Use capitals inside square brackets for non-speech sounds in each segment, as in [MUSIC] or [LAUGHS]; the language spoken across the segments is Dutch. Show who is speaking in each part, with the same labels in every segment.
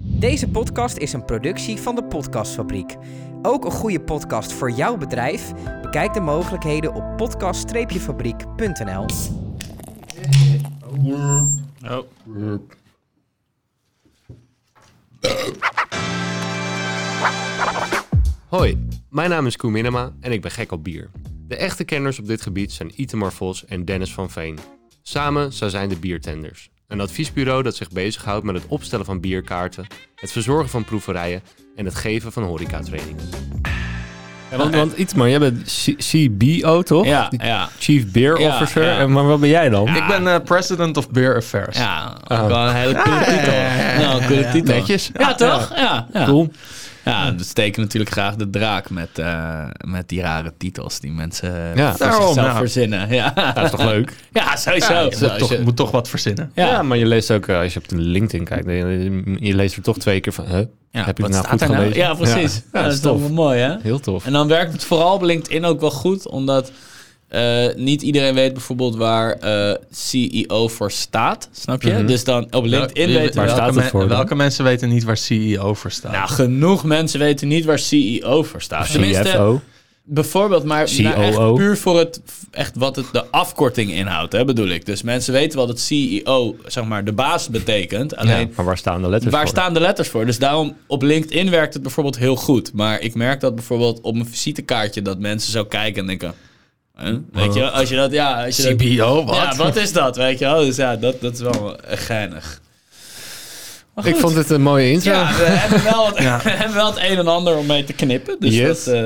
Speaker 1: Deze podcast is een productie van de Podcastfabriek. Ook een goede podcast voor jouw bedrijf? Bekijk de mogelijkheden op podcast-fabriek.nl.
Speaker 2: Oh.
Speaker 3: Hoi, mijn naam is Koen Minema en ik ben gek op bier. De echte kenners op dit gebied zijn Itemar Vos en Dennis van Veen. Samen zij zijn de Biertenders. Een adviesbureau dat zich bezighoudt met het opstellen van bierkaarten, het verzorgen van proeverijen en het geven van horecatrainingen.
Speaker 4: want, want iets maar, jij bent C- CBO toch?
Speaker 2: Ja,
Speaker 4: Die
Speaker 2: ja.
Speaker 4: Chief Beer
Speaker 2: Ja,
Speaker 4: Officer.
Speaker 2: ja.
Speaker 4: En, maar wat ben jij dan?
Speaker 5: Ik ben eh, president of Beer Affairs.
Speaker 2: Ja, ook Ah,
Speaker 4: Ah.
Speaker 2: wel een hele coole titel. Nou, een coole titel.
Speaker 4: Netjes. Ah,
Speaker 2: Ja, toch? Ja, ja.
Speaker 4: Cool.
Speaker 2: Ja, we steken natuurlijk graag de draak met, eh, met die rare titels die mensen eh,
Speaker 4: Ja.
Speaker 2: voor
Speaker 5: Daarom,
Speaker 2: zichzelf
Speaker 5: nou.
Speaker 2: verzinnen. Ja.
Speaker 4: Dat is toch leuk?
Speaker 2: Ja, sowieso.
Speaker 5: Ja,
Speaker 2: Zo,
Speaker 5: moet,
Speaker 2: als
Speaker 5: toch,
Speaker 2: je-
Speaker 5: moet toch wat verzinnen.
Speaker 2: ja.
Speaker 4: Ja. maar je leest ook, eh, als je op de LinkedIn kijkt, je, je leest er toch twee keer van, huh?
Speaker 2: Ja,
Speaker 4: heb je
Speaker 2: wat
Speaker 4: het nou
Speaker 2: staat
Speaker 4: goed
Speaker 2: er nou?
Speaker 4: gelezen?
Speaker 2: Ja, precies.
Speaker 4: Ja,
Speaker 2: Ja,
Speaker 4: dat
Speaker 2: dat is toch
Speaker 4: tof.
Speaker 2: wel mooi, hè?
Speaker 4: Heel tof.
Speaker 2: En dan werkt het vooral op LinkedIn ook wel goed, omdat eh, niet iedereen weet bijvoorbeeld waar eh, CEO voor staat, snap je? Dus dan op LinkedIn
Speaker 5: Wie-
Speaker 2: weten
Speaker 4: Mhm. waar
Speaker 2: we
Speaker 4: staat het
Speaker 5: men-
Speaker 4: voor dan?
Speaker 5: welke mensen weten niet waar CEO voor staat?
Speaker 2: Nou, genoeg mensen weten niet waar CEO voor staat.
Speaker 4: Ah, E
Speaker 2: Tenminste,
Speaker 4: CFO.
Speaker 2: bijvoorbeeld, maar nou echt
Speaker 4: COO.
Speaker 2: puur voor het, echt wat het, de afkorting inhoudt, hè, bedoel ik. Dus mensen weten wel dat CEO, zeg maar, de baas betekent. Alleen,
Speaker 4: Ja, maar waar staan de letters
Speaker 2: waar
Speaker 4: voor?
Speaker 2: staan de letters voor? Dus daarom, op LinkedIn werkt het bijvoorbeeld heel goed. Maar ik merk dat bijvoorbeeld op mijn visitekaartje, dat mensen zo kijken en denken... huh? Weet je, als je dat, ja, als je dat-
Speaker 5: CBO, wat?
Speaker 2: Ja, wat is dat, weet je wel? Dus ja, dat, dat is wel eh, geinig.
Speaker 3: Ik vond het een mooie intro.
Speaker 2: Ja, we hebben wel het, [LAUGHS] we hebben wel het een en ander om mee te knippen. Dus,
Speaker 4: Yes.
Speaker 2: dat, eh,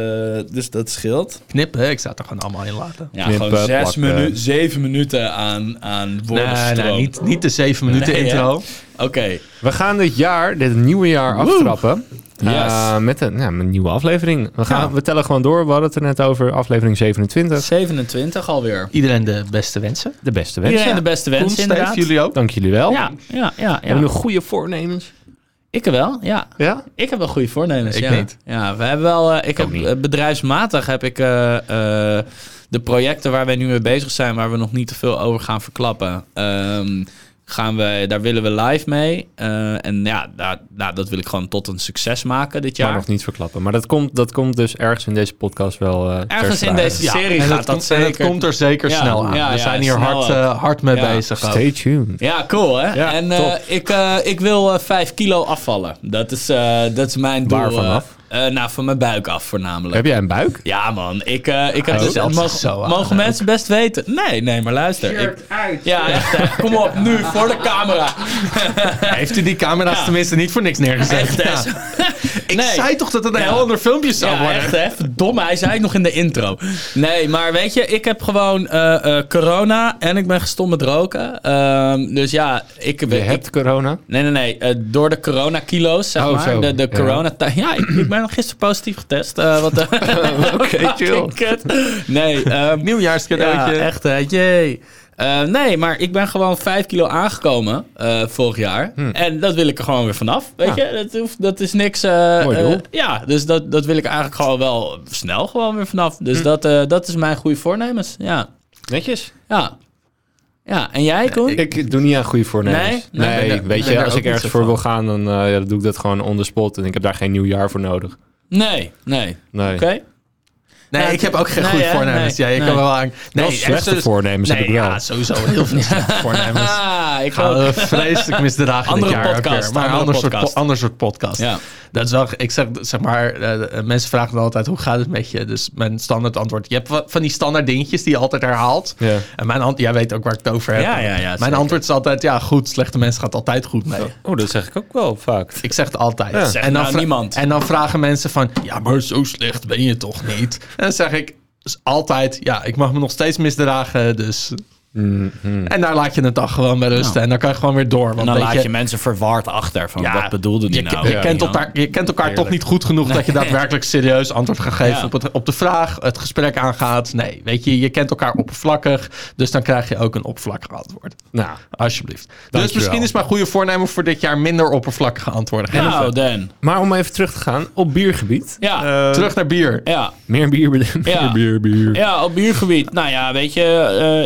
Speaker 2: dus dat scheelt.
Speaker 5: Knippen, ik zou het er gewoon allemaal in laten.
Speaker 2: Ja,
Speaker 4: Knippen,
Speaker 2: gewoon zes
Speaker 4: plakken.
Speaker 2: minu zeven minuten aan, aan
Speaker 5: Nee,
Speaker 2: woordenstroom.
Speaker 5: nee, niet, niet de zeven minuten
Speaker 2: Nee, hè?
Speaker 5: intro.
Speaker 2: Oké.
Speaker 3: We gaan dit jaar, dit nieuwe jaar, aftrappen.
Speaker 2: Yes.
Speaker 3: Eh, met, een, ja, met een nieuwe aflevering. We, gaan, we tellen gewoon door. We hadden het er net over, aflevering 27.
Speaker 2: 27 alweer.
Speaker 5: Iedereen de beste wensen.
Speaker 3: De beste wens.
Speaker 2: Iedereen de beste wensen,
Speaker 5: Steve,
Speaker 2: inderdaad.
Speaker 5: jullie ook.
Speaker 3: Dank jullie wel.
Speaker 2: Ja, ja, ja. ja.
Speaker 3: Hebben we nog goede voornemens?
Speaker 2: Ik wel, ja.
Speaker 3: Ja?
Speaker 2: Ik heb wel goede voornemens.
Speaker 5: Ik
Speaker 2: ja.
Speaker 5: niet.
Speaker 2: Ja, we hebben wel. eh, ik heb,
Speaker 3: niet.
Speaker 2: eh, bedrijfsmatig heb ik eh, eh, de projecten waar wij nu mee bezig zijn, waar we nog niet te veel over gaan verklappen. ehm, gaan we, daar willen we live mee. Eh, en ja, daar, nou, dat wil ik gewoon tot een succes maken dit
Speaker 3: Maar
Speaker 2: jaar.
Speaker 3: nog niet verklappen. Maar dat komt, dat komt dus ergens in deze podcast wel eh, ter
Speaker 2: Ergens in
Speaker 3: sprake.
Speaker 2: deze serie gaat
Speaker 5: en het
Speaker 2: dat
Speaker 5: komt, en
Speaker 2: zeker.
Speaker 5: het komt er zeker
Speaker 2: Ja,
Speaker 5: snel aan.
Speaker 2: ja,
Speaker 5: We
Speaker 2: ja,
Speaker 5: zijn hier
Speaker 2: snel
Speaker 5: hard,
Speaker 2: ook.
Speaker 5: eh, hard mee
Speaker 2: Ja.
Speaker 5: bezig. ook.
Speaker 3: Stay tuned.
Speaker 2: Ja, cool hè.
Speaker 3: Ja,
Speaker 2: en eh,
Speaker 3: top.
Speaker 2: ik, eh, ik wil eh, 5 kilo afvallen. Dat is, eh, dat is mijn doel.
Speaker 3: Waar
Speaker 2: eh.
Speaker 3: vanaf?
Speaker 2: Eh, nou, van mijn buik af voornamelijk.
Speaker 3: Heb Oh, jij een buik?
Speaker 2: Ja, man. Ik, eh, ik heb
Speaker 5: Hij
Speaker 2: dus,
Speaker 5: stelt
Speaker 2: mogen,
Speaker 5: zich zo aan
Speaker 2: mogen mensen best weten. Nee, nee, maar luister. Ik, ja, echt. hè. Kom op, nu voor de camera.
Speaker 5: Heeft u die camera's tenminste niet voor niks neergezet?
Speaker 2: Echt, hè.
Speaker 5: Ja. Ik
Speaker 2: Nee.
Speaker 5: zei toch dat het een
Speaker 2: Ja.
Speaker 5: heel ander filmpje zou
Speaker 2: Ja,
Speaker 5: worden?
Speaker 2: echt hè. Verdomme, hij zei het nog in de intro. Nee, maar weet je, ik heb gewoon eh, eh, corona en ik ben gestopt met roken. Ehm, dus ja, ik...
Speaker 3: Je
Speaker 2: ik-
Speaker 3: hebt corona.
Speaker 2: Nee, nee, nee. eh, door de coronakilo's, zeg
Speaker 3: Oh,
Speaker 2: maar.
Speaker 3: zo.
Speaker 2: De, de
Speaker 3: Ja.
Speaker 2: corona... Ja, ik, ik ben gisteren positief getest. eh, wat, Oké, [LAUGHS]
Speaker 3: chill.
Speaker 2: Nee, ehm,
Speaker 5: Nieuwjaarscadeautje.
Speaker 2: Ja, echt hè, jee. Eh, nee, maar ik ben gewoon 5 kilo aangekomen eh, vorig jaar. En dat wil ik er gewoon weer vanaf. Weet je, dat, hoeft, dat is niks. eh,
Speaker 3: Mooi doel.
Speaker 2: eh, ja, dus dat, dat wil ik eigenlijk gewoon wel snel gewoon weer vanaf. Dus dat, eh, dat is mijn goede voornemens. Ja.
Speaker 3: Netjes.
Speaker 2: ja. Ja, en jij, Koen?
Speaker 3: Ik doe niet aan goede voornemens.
Speaker 2: Nee? Nee, ik ben er-
Speaker 3: weet
Speaker 2: ik ben
Speaker 3: je,
Speaker 2: er
Speaker 3: als
Speaker 2: ook
Speaker 3: ik ergens
Speaker 2: niet
Speaker 3: voor
Speaker 2: zo
Speaker 3: wil gaan, dan eh, ja, dan doe ik dat gewoon on the spot. En ik heb daar geen nieuw jaar voor nodig.
Speaker 2: Nee, nee.
Speaker 3: Nee.
Speaker 2: Oké.
Speaker 5: Nee,
Speaker 2: Nou,
Speaker 5: ik heb ook geen
Speaker 2: nee,
Speaker 5: goede
Speaker 2: hè?
Speaker 5: voornemens.
Speaker 2: Nee,
Speaker 5: ja, ik
Speaker 2: nee.
Speaker 5: kan wel aan.
Speaker 3: Wel
Speaker 5: echt
Speaker 3: slechte
Speaker 5: dus-
Speaker 3: voornemens heb
Speaker 5: nee,
Speaker 3: ik wel.
Speaker 5: Ja, sowieso
Speaker 3: [LAUGHS]
Speaker 5: heel veel slechte
Speaker 2: [LAUGHS]
Speaker 5: voornemens.
Speaker 2: Ah, ik
Speaker 5: Gaan
Speaker 2: ook.
Speaker 5: we vreselijk misdragen
Speaker 2: Andere
Speaker 5: dit jaar ook
Speaker 2: podcast,
Speaker 5: weer. Maar een
Speaker 2: andere
Speaker 5: ander soort,
Speaker 2: podcast.
Speaker 5: po- ander soort podcast.
Speaker 2: Ja.
Speaker 5: Dat is wel, ik zeg, zeg maar, eh, eh, mensen vragen me altijd, hoe gaat het met je? Dus mijn standaard antwoord, je hebt wa- van die standaard dingetjes die je altijd herhaalt.
Speaker 3: Ja.
Speaker 5: En mijn antwoord, jij weet ook waar ik het over heb.
Speaker 2: Ja, ja, ja,
Speaker 5: mijn
Speaker 2: zeker.
Speaker 5: antwoord is altijd, ja goed, slechte mensen gaat altijd goed mee.
Speaker 4: Oh, dat zeg ik ook wel vaak.
Speaker 5: Ik zeg het altijd.
Speaker 2: Zegt
Speaker 5: En, dan
Speaker 2: nou
Speaker 5: vra-
Speaker 2: niemand.
Speaker 5: en dan vragen mensen van, ja, maar zo slecht ben je toch niet? En dan zeg ik dus altijd, ja, ik mag me nog steeds misdragen, dus... En daar laat je het dan gewoon bij rusten. En dan kan je gewoon weer door. Want
Speaker 2: En dan
Speaker 5: weet
Speaker 2: laat
Speaker 5: je,
Speaker 2: je mensen verward achter. Van,
Speaker 5: Ja,
Speaker 2: wat bedoelde die
Speaker 5: je,
Speaker 2: nou?
Speaker 5: Je,
Speaker 2: Ja.
Speaker 5: kent elkaar, je kent elkaar toch niet goed genoeg dat je daadwerkelijk serieus antwoord gaat geven
Speaker 2: Ja.
Speaker 5: op, het, op de vraag, het gesprek aangaat. Nee, weet je, je kent elkaar oppervlakkig, dus dan krijg je ook een oppervlakkig antwoord.
Speaker 3: Nou,
Speaker 5: Alsjeblieft. Dus
Speaker 3: Dankjewel.
Speaker 5: misschien is mijn goede voornemen voor dit jaar minder oppervlakkige antwoorden geven.
Speaker 2: Nou, Dan.
Speaker 3: maar om even terug te gaan op biergebied.
Speaker 2: Ja.
Speaker 3: Eh,
Speaker 5: Terug naar bier.
Speaker 2: ja.
Speaker 3: Meer bier, meer
Speaker 2: Ja.
Speaker 3: bier, bier.
Speaker 2: Ja, op biergebied. Nou ja, weet je,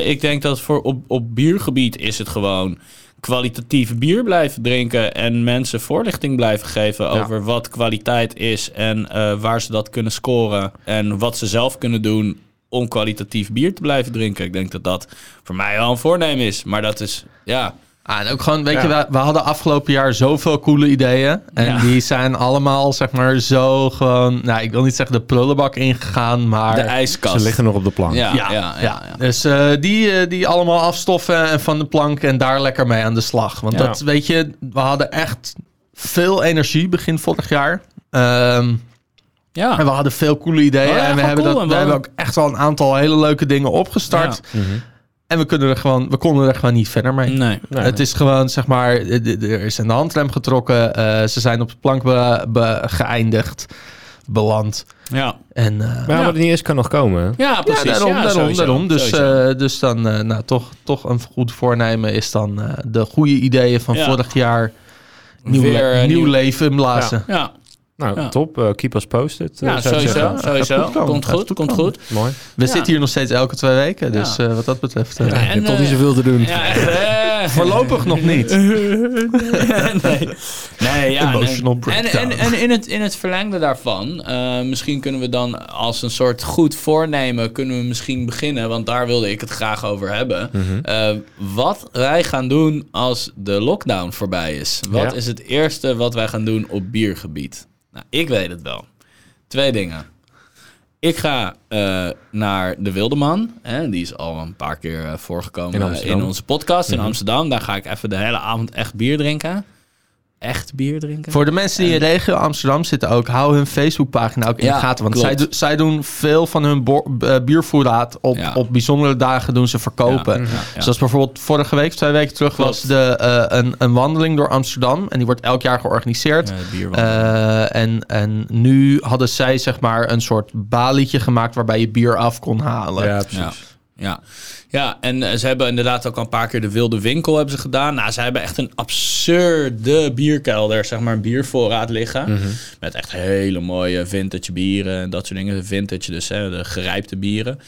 Speaker 2: eh, ik denk dat voor op, op biergebied is het gewoon. kwalitatief bier blijven drinken en mensen voorlichting blijven geven over wat kwaliteit is en eh, waar ze dat kunnen scoren en wat ze zelf kunnen doen om kwalitatief bier te blijven drinken. Ik denk dat dat voor mij wel een voornemen is, maar dat is ja.
Speaker 5: Ah, en ook gewoon, weet je, we, we hadden afgelopen jaar zoveel coole ideeën. En
Speaker 2: Ja.
Speaker 5: die zijn allemaal, zeg maar, zo gewoon... Nou, ik wil niet zeggen de prullenbak ingegaan, maar...
Speaker 2: De ijskast.
Speaker 4: Ze liggen nog op de plank.
Speaker 2: ja, ja,
Speaker 5: ja,
Speaker 2: ja, ja.
Speaker 5: Dus eh, die, eh, die allemaal afstoffen en van de plank en daar lekker mee aan de slag. Want
Speaker 2: Ja.
Speaker 5: dat, weet je, we hadden echt veel energie begin vorig jaar. Ehm,
Speaker 2: Ja.
Speaker 5: en we hadden veel coole ideeën.
Speaker 2: Oh ja,
Speaker 5: en we
Speaker 2: gewoon
Speaker 5: hebben,
Speaker 2: cool.
Speaker 5: dat,
Speaker 2: En
Speaker 5: we
Speaker 2: we
Speaker 5: hebben ook
Speaker 2: hadden-
Speaker 5: echt wel een aantal hele leuke dingen opgestart.
Speaker 4: Mhm.
Speaker 5: En we, kunnen er gewoon, we konden er gewoon niet verder mee.
Speaker 2: Nee.
Speaker 5: het is gewoon, zeg maar, eh, d- d- er is aan de handrem getrokken. eh, ze zijn op de plank be- be- geëindigd, beland.
Speaker 2: Ja.
Speaker 5: En, eh,
Speaker 4: Maar
Speaker 2: Ja.
Speaker 4: wat niet is, kan nog komen. hè?
Speaker 2: Ja,
Speaker 5: ja,
Speaker 2: precies.
Speaker 5: daarom,
Speaker 2: Ja,
Speaker 5: daarom,
Speaker 2: sowieso,
Speaker 5: daarom. Dus,
Speaker 2: sowieso.
Speaker 5: eh, dus dan, eh, nou, toch, toch een goed voornemen is dan eh, de goede ideeën van
Speaker 2: Ja.
Speaker 5: vorig jaar nieuw, le-
Speaker 2: Weer, eh,
Speaker 5: nieuw
Speaker 2: nieuw-
Speaker 5: leven blazen.
Speaker 2: ja.
Speaker 4: Nou,
Speaker 2: Ja.
Speaker 4: top. eh, keep us posted. eh,
Speaker 2: ja,
Speaker 4: zou ik zeggen.
Speaker 2: sowieso.
Speaker 5: Gaat
Speaker 2: sowieso.
Speaker 5: goed komen,
Speaker 2: Komt
Speaker 5: gaat
Speaker 2: goed,
Speaker 5: goed
Speaker 2: komt goed.
Speaker 4: Mooi.
Speaker 5: We
Speaker 2: Ja.
Speaker 5: zitten hier nog steeds elke twee weken, dus
Speaker 2: Ja.
Speaker 5: eh, wat dat betreft... eh,
Speaker 4: Je
Speaker 2: En,
Speaker 4: hebt toch
Speaker 2: eh,
Speaker 4: niet zoveel te doen.
Speaker 2: Ja, echt, eh.
Speaker 5: [LAUGHS] Voorlopig [LAUGHS] nog niet.
Speaker 2: [LAUGHS] nee. nee, ja.
Speaker 5: Emotional
Speaker 2: nee. En,
Speaker 5: breakdown.
Speaker 2: en, en in, het, in het verlengde daarvan, eh, misschien kunnen we dan als een soort goed voornemen, kunnen we misschien beginnen, want daar wilde ik het graag over hebben.
Speaker 5: Mhm.
Speaker 2: Eh, wat wij gaan doen als de lockdown voorbij is. Wat
Speaker 4: Ja.
Speaker 2: is het eerste wat wij gaan doen op biergebied? Nou, ik weet het wel. Twee dingen. Ik ga eh, naar de Wildeman. Hè, die is al een paar keer eh, voorgekomen
Speaker 4: In
Speaker 2: eh,
Speaker 4: Amsterdam. Mhm.
Speaker 2: in onze podcast in Amsterdam. Daar ga ik even de hele avond echt bier drinken. Echt bier drinken?
Speaker 5: Voor de mensen die in regio Amsterdam zitten ook, hou hun Facebookpagina ook in
Speaker 2: Ja,
Speaker 5: de gaten. Want
Speaker 2: klopt.
Speaker 5: zij, do- zij doen veel van hun bo- eh, biervoorraad op,
Speaker 2: Ja.
Speaker 5: op bijzondere dagen doen ze verkopen. Dus
Speaker 2: Ja, ja.
Speaker 5: Zoals bijvoorbeeld vorige week, twee weken terug,
Speaker 2: Klopt.
Speaker 5: was de, eh, een, een wandeling door Amsterdam. En die wordt elk jaar georganiseerd.
Speaker 2: Eh, bier wel.
Speaker 5: Eh, en, en nu hadden zij zeg maar een soort balietje gemaakt waarbij je bier af kon halen.
Speaker 4: Ja,
Speaker 2: ja.
Speaker 4: precies.
Speaker 2: Ja. ja, en eh, ze hebben inderdaad ook al een paar keer de Wilde Winkel hebben ze gedaan. Nou, ze hebben echt een absurde bierkelder, zeg maar, een biervoorraad liggen. Met echt hele mooie vintage bieren en dat soort dingen. Vintage dus, hè, de gerijpte bieren.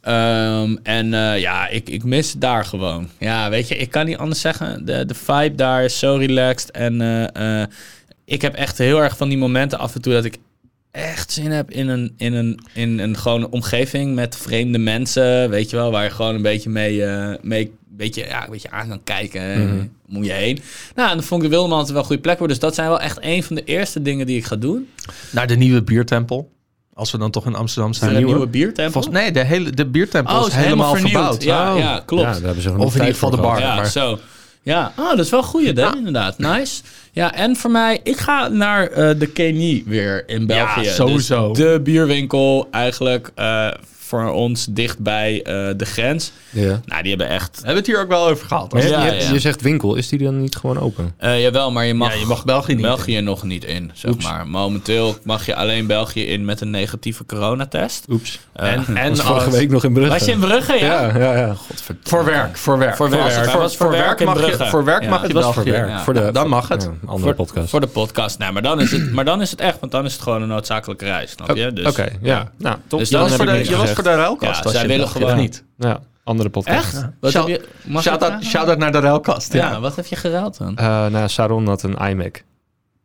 Speaker 2: Ehm, en eh, ja, ik, ik mis het daar gewoon. Ja, weet je, ik kan niet anders zeggen. De, de vibe daar is zo relaxed. En eh, eh, ik heb echt heel erg van die momenten af en toe dat ik echt zin heb in een, in een, in een gewone omgeving met vreemde mensen, weet je wel, waar je gewoon een beetje mee, eh, mee een beetje, ja, een beetje aan kan kijken.
Speaker 5: Mhm.
Speaker 2: en Moet je heen. Nou, en dan vond ik de Wilderman altijd wel een goede plek voor. Dus dat zijn wel echt een van de eerste dingen die ik ga doen.
Speaker 5: Naar de nieuwe biertempel. Als we dan toch in Amsterdam
Speaker 2: Een
Speaker 5: zijn.
Speaker 2: nieuwe, biertempel.
Speaker 5: Volgens, nee, de, hele, de biertempel
Speaker 2: oh,
Speaker 5: Oh, is, helemaal,
Speaker 2: vernieuwd.
Speaker 5: verbouwd.
Speaker 2: Ja,
Speaker 5: Oh.
Speaker 2: ja, klopt.
Speaker 4: Ja, daar hebben ze gewoon
Speaker 5: Of in
Speaker 4: tijd
Speaker 5: ieder geval
Speaker 4: voor gehad.
Speaker 5: de bar.
Speaker 2: Ja,
Speaker 5: maar-
Speaker 2: zo. Ja, oh, dat is wel een goeie, hè? inderdaad. Nice. Ja, en voor mij, ik ga naar eh, de Kenny weer in België. Dus
Speaker 5: sowieso.
Speaker 2: de bierwinkel eigenlijk eh, voor ons dicht bij eh, de grens.
Speaker 4: Ja.
Speaker 2: Nou, die hebben echt...
Speaker 5: We hebben het hier ook wel over gehad.
Speaker 4: Maar je,
Speaker 2: Ja,
Speaker 4: je hebt-
Speaker 2: ja.
Speaker 4: je zegt winkel, is die dan niet gewoon open?
Speaker 2: eh, jawel, maar je mag,
Speaker 5: Ja, je mag België niet
Speaker 2: België nog niet in, zeg maar. Momenteel mag je alleen België in met een negatieve coronatest.
Speaker 4: Oeps.
Speaker 2: Eh,
Speaker 5: En, en
Speaker 4: was vorige
Speaker 5: als-
Speaker 4: week nog in Brugge.
Speaker 2: Was je in Brugge, ja?
Speaker 4: Ja, ja, ja.
Speaker 5: Voor werk, voor werk.
Speaker 2: Voor werk. Hij was voor werk in
Speaker 5: mag je,
Speaker 2: Brugge.
Speaker 5: voor werk
Speaker 2: Ja,
Speaker 5: mag je
Speaker 4: Het was
Speaker 5: wel
Speaker 4: voor werk.
Speaker 2: Ja.
Speaker 4: Voor de,
Speaker 5: Dan mag het.
Speaker 4: Ja, een andere
Speaker 2: voor,
Speaker 4: podcast.
Speaker 2: Voor de podcast. Nee, maar dan is het, maar dan is het echt, want dan is het gewoon een noodzakelijke reis, snap je? Dus,
Speaker 4: Oké, ja. Nou, top.
Speaker 2: Dus
Speaker 5: Je
Speaker 2: Dan
Speaker 5: was
Speaker 2: heb
Speaker 5: voor
Speaker 2: ik
Speaker 5: de,
Speaker 2: niks
Speaker 5: je was voor de ruilkast.
Speaker 2: Ja,
Speaker 5: als
Speaker 2: zij
Speaker 5: je
Speaker 2: willen
Speaker 5: dacht, of
Speaker 2: gewoon-
Speaker 5: niet.
Speaker 4: Ja, andere podcast.
Speaker 2: Echt?
Speaker 5: Ja.
Speaker 2: Wat
Speaker 5: Shout-
Speaker 2: heb je, mag ik
Speaker 5: Shout-out
Speaker 2: vragen?
Speaker 5: shout-out naar de ruilkast.
Speaker 2: ja.
Speaker 5: Ja.
Speaker 2: wat heb je geruild dan?
Speaker 4: Eh nou, Saron had een iMac.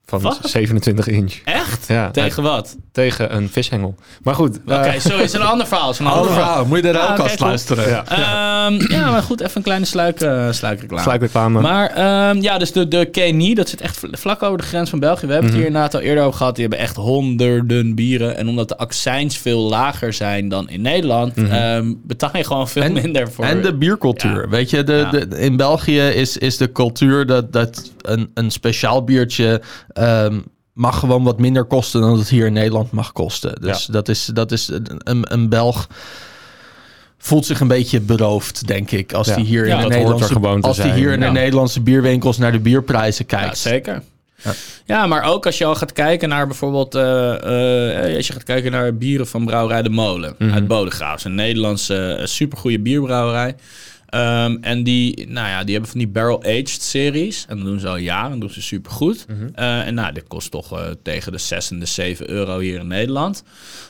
Speaker 4: Van
Speaker 2: Wat?
Speaker 4: 27 inch.
Speaker 2: Echt?
Speaker 4: Ja,
Speaker 2: Tegen wat?
Speaker 4: tegen een vishengel. Maar goed. eh,
Speaker 2: Oké, zo is het een ander verhaal. is een ander
Speaker 5: Ander
Speaker 2: verhaal.
Speaker 5: verhaal, moet je de
Speaker 2: Ah,
Speaker 5: ruilkast
Speaker 2: oké, cool.
Speaker 5: luisteren.
Speaker 4: Ja.
Speaker 2: Ehm, ja, maar goed, even een kleine sluik, eh sluikreclame.
Speaker 4: Sluitreclame.
Speaker 2: Maar ehm, ja, dus de, de Kenny, dat zit echt vl- vlak over de grens van België. We hebben het hier inderdaad al eerder over gehad. Die hebben echt honderden bieren. En omdat de accijns veel lager zijn dan in Nederland, ehm, betaal je gewoon veel
Speaker 5: En-
Speaker 2: minder voor.
Speaker 5: En de biercultuur.
Speaker 2: Ja.
Speaker 5: Weet je, de,
Speaker 2: Ja.
Speaker 5: de- in België is, is de cultuur dat, dat een, een speciaal biertje ehm, mag gewoon wat minder kosten dan het hier in Nederland mag kosten. Dus dat is, dat is een, een- een Belg voelt zich een beetje beroofd, denk ik, als
Speaker 4: Ja.
Speaker 5: die hier
Speaker 2: Ja,
Speaker 5: in
Speaker 2: dat
Speaker 5: de
Speaker 4: hoort er gewoon
Speaker 5: Nederlandse,
Speaker 4: te
Speaker 5: als die
Speaker 4: zijn.
Speaker 5: hier in de
Speaker 2: Ja.
Speaker 5: Nederlandse bierwinkels naar de bierprijzen
Speaker 2: Ja,
Speaker 5: kijkt.
Speaker 2: zeker. Ja. maar ook als je al gaat kijken naar bijvoorbeeld... eh, eh, als je gaat kijken naar bieren van brouwerij De Molen
Speaker 4: Mhm.
Speaker 2: uit Bodegraafs. Een Nederlandse eh, supergoeie bierbrouwerij. Ehm, en die, nou ja, die hebben van die barrel-aged series. En dat doen ze al jaren. Dat doen ze supergoed.
Speaker 4: Mhm.
Speaker 2: Eh, en nou, dit kost toch eh, tegen de 6 en de 7 euro hier in Nederland.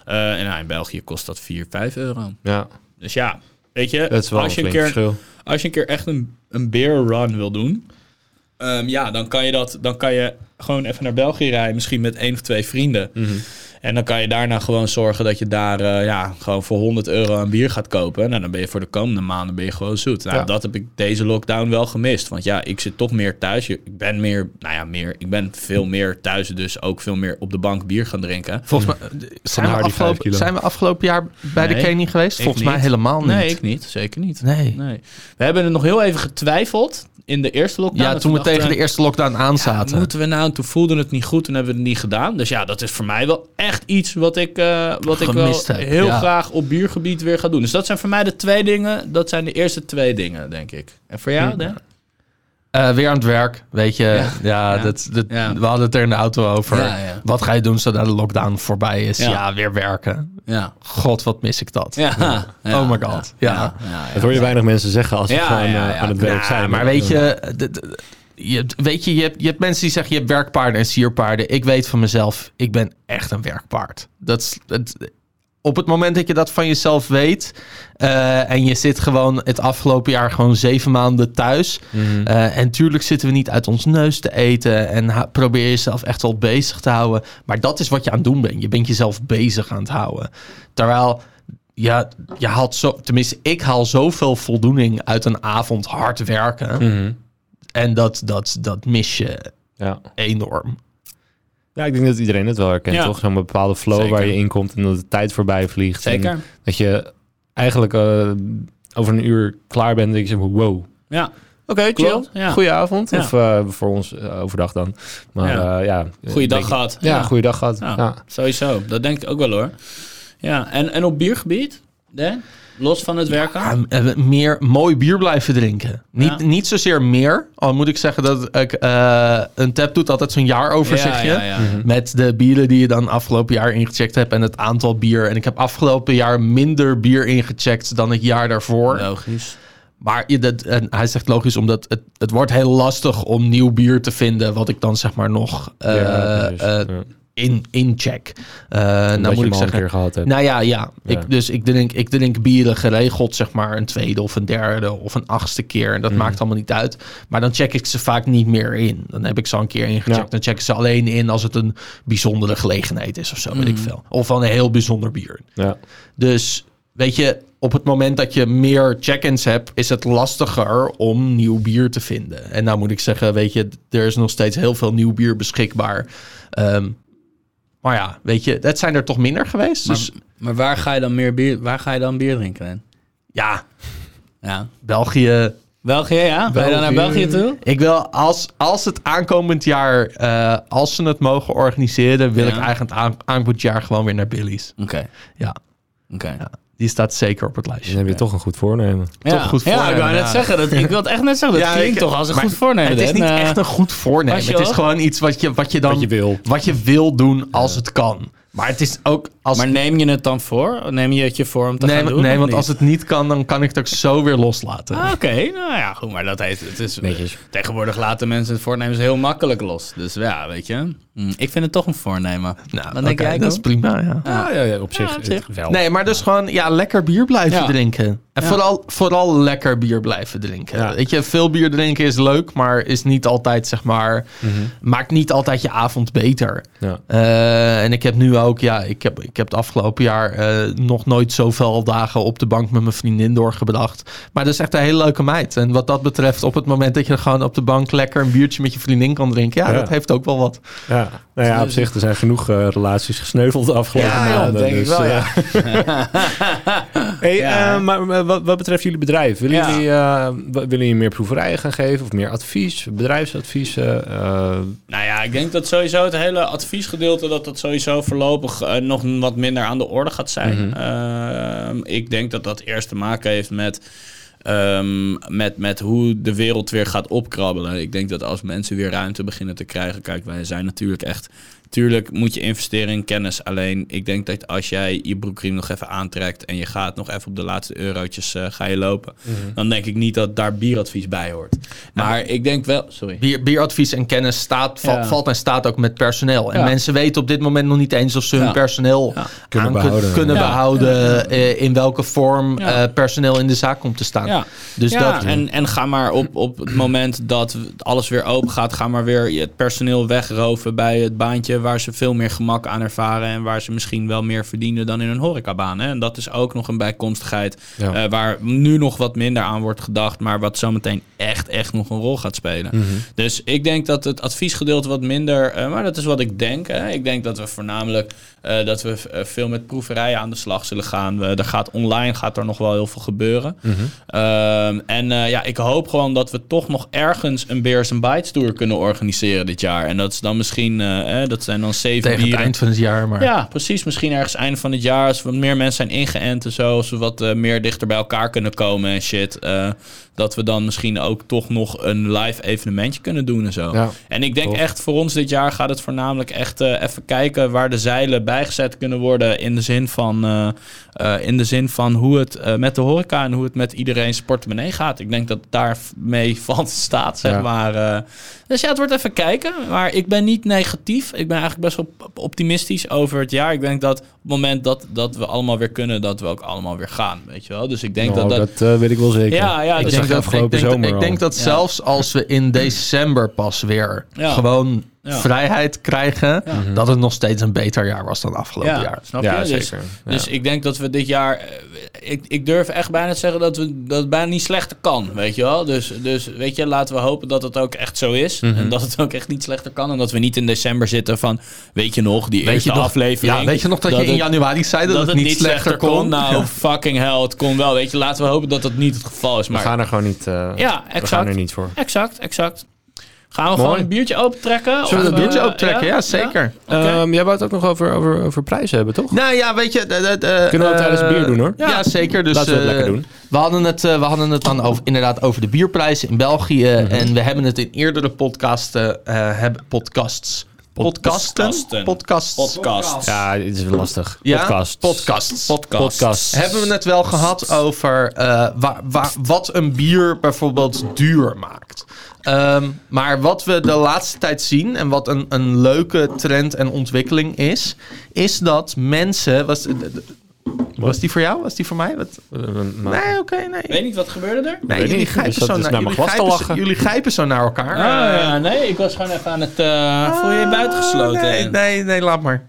Speaker 2: Eh, en nou, in België kost dat 4, 5 euro.
Speaker 4: ja,
Speaker 2: Dus ja, weet je...
Speaker 4: dat is wel
Speaker 2: als je
Speaker 4: een
Speaker 2: een
Speaker 4: flink
Speaker 2: keer
Speaker 4: verschil.
Speaker 2: als je een keer echt een, een beer run wil doen, Ehm, ja, dan kan, je dat, dan kan je gewoon even naar België rijden. Misschien met één of twee vrienden.
Speaker 5: Mhm.
Speaker 2: En dan kan je daarna gewoon zorgen dat je daar eh, ja, gewoon voor 100 euro een bier gaat kopen. Nou, dan ben je voor de komende maanden ben je gewoon zoet. Nou,
Speaker 4: Ja.
Speaker 2: dat heb ik deze lockdown wel gemist. Want ja, ik zit toch meer thuis. Je- Ik ben meer, nou ja, meer. Ik ben veel meer thuis. Dus ook veel meer op de bank bier gaan drinken.
Speaker 5: Volgens mij zijn
Speaker 4: haar
Speaker 5: we,
Speaker 4: die vijf
Speaker 5: afgelopen,
Speaker 4: kilo.
Speaker 5: zijn we afgelopen jaar bij de
Speaker 2: Nee,
Speaker 5: Kenny geweest?
Speaker 2: ik
Speaker 5: Volgens mij
Speaker 2: niet.
Speaker 5: helemaal niet.
Speaker 2: Nee, ik niet. Zeker niet.
Speaker 5: Nee.
Speaker 2: Nee. We hebben er nog heel even getwijfeld in de eerste lockdown.
Speaker 5: Ja,
Speaker 2: Nou, Dat
Speaker 5: toen we
Speaker 2: dachten,
Speaker 5: tegen de eerste lockdown aan zaten.
Speaker 2: Moeten we nou? En Toen voelden we het niet goed, toen hebben we het niet gedaan. Dus ja, dat is voor mij wel echt iets wat ik, eh, wat ik wel
Speaker 5: Gemist heb,
Speaker 2: heel
Speaker 5: ja.
Speaker 2: graag op biergebied weer ga doen. Dus dat zijn voor mij de twee dingen. Dat zijn de eerste twee dingen, denk ik. En voor jou, Dan?
Speaker 5: Eh, weer aan het werk, weet je. Ja,
Speaker 2: Ja.
Speaker 5: Dat, dat,
Speaker 2: Ja.
Speaker 5: we hadden het er in de auto over.
Speaker 2: Ja, ja.
Speaker 5: Wat ga je doen zodra de lockdown voorbij is?
Speaker 2: Ja.
Speaker 5: Ja, weer werken.
Speaker 2: Ja.
Speaker 5: God, wat mis ik dat.
Speaker 2: ja. ja.
Speaker 5: Oh my god. Ja.
Speaker 2: ja, ja.
Speaker 4: Dat hoor je weinig mensen zeggen als ze
Speaker 2: Ja,
Speaker 4: gewoon
Speaker 2: ja,
Speaker 4: eh,
Speaker 2: ja.
Speaker 4: aan het werk
Speaker 5: Ja,
Speaker 4: zijn.
Speaker 5: maar weet je, d- d- je, hebt- weet je, je hebt, je hebt mensen die zeggen je hebt werkpaarden en sierpaarden. Ik weet van mezelf, ik ben echt een werkpaard. Dat is, het, op het moment dat je dat van jezelf weet eh, en je zit gewoon het afgelopen jaar gewoon zeven maanden thuis. eh, en tuurlijk zitten we niet uit ons neus te eten en ha- probeer jezelf echt wel bezig te houden. Maar dat is wat je aan het doen bent. Je bent jezelf bezig aan het houden. Terwijl ja, je haalt zo, tenminste, ik haal zoveel voldoening uit een avond hard werken.
Speaker 2: Mhm.
Speaker 5: En dat, dat, dat mis je
Speaker 4: Ja.
Speaker 5: enorm.
Speaker 4: ja, ik denk dat iedereen het wel herkent,
Speaker 2: Ja.
Speaker 4: toch? Zo'n bepaalde flow
Speaker 2: Zeker.
Speaker 4: waar je in komt en dat de tijd voorbij vliegt.
Speaker 2: Zeker.
Speaker 4: En dat je eigenlijk eh, over een uur klaar bent en denk je, wow.
Speaker 2: Ja.
Speaker 4: Oké,
Speaker 2: chill. Ja.
Speaker 4: Goedenavond.
Speaker 2: Ja.
Speaker 4: Of eh, voor ons eh, overdag dan. Maar
Speaker 2: Ja.
Speaker 4: ja, ja
Speaker 2: Goeiedag
Speaker 4: denk-
Speaker 2: gehad.
Speaker 4: Ja, goeiedag gehad.
Speaker 2: Ja, Nou,
Speaker 4: Ja.
Speaker 2: Sowieso. Dat denk ik ook wel hoor. Ja. En, en op biergebied, Dan? Los van het werken?
Speaker 5: Ja, m- eh, meer mooi bier blijven drinken. Niet,
Speaker 2: Ja.
Speaker 5: niet zozeer meer. Al moet ik zeggen dat ik eh, een tap doet altijd zo'n jaaroverzichtje.
Speaker 2: Ja, ja, ja.
Speaker 5: Met de bieren die je dan afgelopen jaar ingecheckt hebt en het aantal bier. En ik heb afgelopen jaar minder bier ingecheckt dan het jaar daarvoor.
Speaker 2: Logisch.
Speaker 5: Maar je- dat, en hij zegt logisch, omdat het, het wordt heel lastig om nieuw bier te vinden. Wat ik dan zeg maar nog eh,
Speaker 4: Ja, precies.
Speaker 5: eh,
Speaker 4: Ja. Omdat
Speaker 5: in, incheck. Eh,
Speaker 4: je
Speaker 5: nou
Speaker 4: hem
Speaker 5: moet ik
Speaker 4: al een
Speaker 5: zeggen.
Speaker 4: keer gehad hebt.
Speaker 5: Nou ja, ja.
Speaker 4: Ja.
Speaker 5: Ik, dus ik drink, ik drink bieren geregeld, zeg maar, een tweede of een derde of een achtste keer. En
Speaker 4: Mhm.
Speaker 5: dat maakt allemaal niet uit. Maar dan check ik ze vaak niet meer in. Dan heb ik ze al een keer ingecheckt.
Speaker 4: Ja.
Speaker 5: Dan check ik ze alleen in als het een bijzondere gelegenheid is of zo, weet ik
Speaker 4: Mhm.
Speaker 5: veel. Of van een heel bijzonder bier.
Speaker 4: Ja.
Speaker 5: Dus weet je, op het moment dat je meer check-ins hebt, is het lastiger om nieuw bier te vinden. En nou moet ik zeggen, weet je, er is nog steeds heel veel nieuw bier beschikbaar. Ehm, maar ja, weet je, dat zijn er toch minder geweest.
Speaker 2: Maar,
Speaker 5: dus
Speaker 2: maar waar ga je dan meer bier, waar ga je dan bier drinken? Dan?
Speaker 5: ja,
Speaker 2: Ja.
Speaker 5: België.
Speaker 2: België, ja? Ben je dan naar België toe?
Speaker 5: Ik wil als, als het aankomend jaar, eh, als ze het mogen organiseren, wil
Speaker 2: Ja.
Speaker 5: ik eigenlijk het aan- aankomend jaar gewoon weer naar Billy's.
Speaker 2: Oké.
Speaker 5: Ja,
Speaker 2: Oké.
Speaker 5: ja, die staat zeker op het
Speaker 4: Dan
Speaker 5: lijstje.
Speaker 4: heb je toch een goed voornemen.
Speaker 5: Toch goed
Speaker 2: Ja, ik
Speaker 5: voornemen,
Speaker 2: wou net
Speaker 5: ja.
Speaker 2: zeggen. Dat, ik wil het echt net zeggen. Dat
Speaker 5: Ja,
Speaker 2: klinkt
Speaker 5: ik-
Speaker 2: toch als een
Speaker 5: maar
Speaker 2: goed voornemen.
Speaker 5: het is
Speaker 2: hè?
Speaker 5: niet
Speaker 2: Nou,
Speaker 5: echt een goed
Speaker 2: Als
Speaker 5: voornemen.
Speaker 2: je
Speaker 5: Het is
Speaker 2: wel-
Speaker 5: gewoon iets wat je, wat je dan
Speaker 4: Wat je wil.
Speaker 5: wat je wil doen als het kan. Maar het is ook als.
Speaker 2: Maar neem je het dan voor? Neem je het je voor om te
Speaker 5: nee,
Speaker 2: gaan
Speaker 5: wa-
Speaker 2: doen?
Speaker 5: nee
Speaker 2: of
Speaker 5: want
Speaker 2: niet?
Speaker 5: als het niet kan, dan kan ik het ook zo weer loslaten.
Speaker 2: Ah, Oké, nou ja, goed. Maar dat heeft, het is, tegenwoordig laten mensen het voornemens heel makkelijk los. Dus ja, weet je. Hm, ik vind het toch een voornemen.
Speaker 5: nou,
Speaker 2: dan denk Ah.
Speaker 5: oké,
Speaker 2: jij
Speaker 5: dat
Speaker 2: dan?
Speaker 5: is prima. Ja.
Speaker 4: Ja, ja, ja, op zich,
Speaker 2: op zich.
Speaker 4: wel.
Speaker 5: Nee, maar dus gewoon ja, lekker bier blijven
Speaker 2: Ja.
Speaker 5: drinken. En
Speaker 2: Ja.
Speaker 5: vooral, vooral lekker bier blijven drinken.
Speaker 4: Ja.
Speaker 5: Weet je, veel bier drinken is leuk, maar is niet altijd, zeg maar,
Speaker 4: Mhm.
Speaker 5: maakt niet altijd je avond beter.
Speaker 4: Ja.
Speaker 5: Eh, en ik heb nu ook, ja, ik heb, ik heb het afgelopen jaar eh, nog nooit zoveel dagen op de bank met mijn vriendin doorgebracht. Maar dat is echt een hele leuke meid. En wat dat betreft, op het moment dat je gewoon op de bank lekker een biertje met je vriendin kan drinken, ja,
Speaker 4: Ja.
Speaker 5: dat heeft ook wel wat.
Speaker 4: Ja, nou ja, op zich, er zijn genoeg eh, relaties gesneuveld de afgelopen
Speaker 5: Ja, ja,
Speaker 4: maanden.
Speaker 2: dat denk ik
Speaker 4: dus,
Speaker 2: wel,
Speaker 4: eh,
Speaker 2: ja.
Speaker 4: hey,
Speaker 2: Ja.
Speaker 4: eh, maar eh, wat, wat betreft jullie bedrijf, willen,
Speaker 2: Ja.
Speaker 4: jullie, eh, wa- willen jullie meer proeverijen gaan geven of meer advies, bedrijfsadviezen? eh,
Speaker 2: Nou ja, ik denk dat sowieso het hele adviesgedeelte... dat dat sowieso voorlopig eh, nog wat minder aan de orde gaat zijn. Ehm, ik denk dat dat eerst te maken heeft met... ehm, met, met hoe de wereld weer gaat opkrabbelen. Ik denk dat als mensen weer ruimte beginnen te krijgen... Kijk, wij zijn natuurlijk echt tuurlijk moet je investeren in kennis. Alleen ik denk dat als jij je broekriem nog even aantrekt en je gaat nog even op de laatste eurotjes eh, ga je lopen, dan denk ik niet dat daar bieradvies bij hoort. Maar ik denk wel. Sorry.
Speaker 5: Bier, bieradvies en kennis staat, val-
Speaker 2: Ja.
Speaker 5: valt en staat ook met personeel. En
Speaker 2: Ja.
Speaker 5: mensen weten op dit moment nog niet eens of ze hun
Speaker 2: Ja.
Speaker 5: personeel
Speaker 2: Ja.
Speaker 5: kunnen
Speaker 4: Kunnen
Speaker 5: behouden,
Speaker 4: behouden.
Speaker 5: kunnen
Speaker 2: Ja.
Speaker 5: behouden eh, in welke vorm
Speaker 2: Ja.
Speaker 5: eh, personeel in de zaak komt te staan.
Speaker 2: Ja.
Speaker 5: Dus
Speaker 2: ja,
Speaker 5: dat,
Speaker 2: en, en ga maar op, op het moment dat alles weer open gaat, ga maar weer het personeel wegroven bij het baantje waar ze veel meer gemak aan ervaren en waar ze misschien wel meer verdienen dan in een horecabaan. Hè? En dat is ook nog een bijkomstigheid
Speaker 4: Ja.
Speaker 2: eh, waar nu nog wat minder aan wordt gedacht, maar wat zometeen echt, echt nog een rol gaat spelen.
Speaker 5: Mhm.
Speaker 2: Dus ik denk dat het adviesgedeelte wat minder, eh, maar dat is wat ik denk. Hè? Ik denk dat we voornamelijk eh, dat we eh, veel met proeverijen aan de slag zullen gaan. We, er gaat online gaat er nog wel heel veel gebeuren.
Speaker 5: Mhm.
Speaker 2: Ehm, en eh, ja, ik hoop gewoon dat we toch nog ergens een Beers and Bites tour kunnen organiseren dit jaar. En dat is dan misschien, eh, eh, dat zijn dan zeven
Speaker 5: tegen het
Speaker 2: bieren.
Speaker 5: eind van het jaar. Maar
Speaker 2: Ja, precies. Misschien ergens einde van het jaar. Als wat meer mensen zijn ingeënt en zo. Als we wat eh, meer dichter bij elkaar kunnen komen en shit. eh, dat we dan misschien ook toch nog een live evenementje kunnen doen en zo.
Speaker 4: Ja,
Speaker 2: en ik denk echt voor ons dit jaar gaat het voornamelijk echt eh, even kijken waar de zeilen bijgezet kunnen worden. In de zin van, eh, eh, in de zin van hoe het eh, met de horeca en hoe het met iedereen's portemonnee gaat. Ik denk dat daarmee [LAUGHS] valt staat, zeg
Speaker 4: Ja.
Speaker 2: maar. eh, dus ja, het wordt even kijken. Maar ik ben niet negatief. Ik ben eigenlijk best wel op- optimistisch over het jaar. Ik denk dat op het moment dat, dat we allemaal weer kunnen, dat we ook allemaal weer gaan. Weet je wel? Dus ik denk
Speaker 4: Nou,
Speaker 2: dat dat.
Speaker 4: dat eh, weet ik wel zeker.
Speaker 2: ja, ja,
Speaker 5: Ik
Speaker 2: dus
Speaker 5: denk,
Speaker 4: zag je
Speaker 5: dat, ik,
Speaker 4: afgelopen
Speaker 5: denk, dat-
Speaker 4: zomer
Speaker 5: ik
Speaker 4: al.
Speaker 5: denk dat
Speaker 2: Ja.
Speaker 5: zelfs als we in december pas weer
Speaker 2: Ja.
Speaker 5: gewoon
Speaker 2: Ja. Mhm.
Speaker 5: vrijheid krijgen, dat het nog steeds een beter jaar was dan afgelopen
Speaker 2: ja,
Speaker 5: jaar.
Speaker 2: Snap je?
Speaker 4: Ja,
Speaker 2: Dus-
Speaker 4: zeker. Ja.
Speaker 2: Dus ik denk dat we dit jaar. eh, Ik, ik durf echt bijna te zeggen dat, we, dat het bijna niet slechter kan. Weet je wel? Dus, dus weet je, laten we hopen dat het ook echt zo is.
Speaker 5: Mhm.
Speaker 2: En dat het ook echt niet slechter kan. En dat we niet in december zitten van. Weet je nog, die
Speaker 5: Weet
Speaker 2: eerste
Speaker 5: je nog,
Speaker 2: aflevering.
Speaker 5: Ja, weet je nog dat, je in
Speaker 2: het-
Speaker 5: januari zei dat,
Speaker 2: dat het niet slechter kon. Nou,
Speaker 5: Ja.
Speaker 2: fucking hell, het kon wel. Weet je, laten we hopen dat dat niet het geval is.
Speaker 4: We
Speaker 2: Maar
Speaker 4: gaan er gewoon niet, eh,
Speaker 2: ja,
Speaker 4: we gaan er
Speaker 2: exact.
Speaker 4: niet voor.
Speaker 2: Exact, exact. Gaan we gewoon een biertje opentrekken?
Speaker 5: Zullen we
Speaker 2: Of,
Speaker 5: dat biertje
Speaker 2: eh,
Speaker 5: optrekken? Ja, zeker.
Speaker 2: Oké.
Speaker 4: Ehm, jij wou het ook nog over, over, over prijzen hebben, toch?
Speaker 5: Nou ja, weet je... de- de- de-
Speaker 4: Kunnen we dat
Speaker 5: eh,
Speaker 4: tijdens het bier doen, hoor?
Speaker 5: Ja, zeker. Dus,
Speaker 4: Laten we het
Speaker 5: eh,
Speaker 4: lekker doen.
Speaker 5: We hadden het, eh, we hadden het dan over, inderdaad over de bierprijzen in België. eh,
Speaker 4: Mhm.
Speaker 5: En we hebben het in eerdere podcasten... eh hebben podcasts... Podcasten?
Speaker 2: Podcasten.
Speaker 5: Podcasts.
Speaker 2: Podcast.
Speaker 4: Ja, dit is lastig.
Speaker 5: Ja?
Speaker 4: Podcast.
Speaker 5: Podcasts.
Speaker 2: Podcast.
Speaker 4: Podcast.
Speaker 5: Hebben we het wel gehad over eh, wa- wa- wat een bier bijvoorbeeld duur maakt. Ehm, maar wat we de laatste tijd zien en wat een, een leuke trend en ontwikkeling is, is dat mensen. Was, was die voor jou? Was die voor mij? Wat? Nee, oké, nee.
Speaker 2: Weet niet, wat gebeurde er?
Speaker 5: Nee,
Speaker 4: Eh, weet
Speaker 5: jullie
Speaker 4: niet.
Speaker 5: grijpen,
Speaker 4: Dus dat
Speaker 5: zo
Speaker 4: is
Speaker 5: naar,
Speaker 4: naar
Speaker 5: jullie,
Speaker 4: mijn glas te
Speaker 5: grijpen zo,
Speaker 4: lachen.
Speaker 5: jullie grijpen zo naar elkaar. Eh,
Speaker 2: Ah, ja, nee, ik was gewoon even aan het. eh voel je je buitengesloten?
Speaker 5: Ah, Nee, nee, nee, laat maar.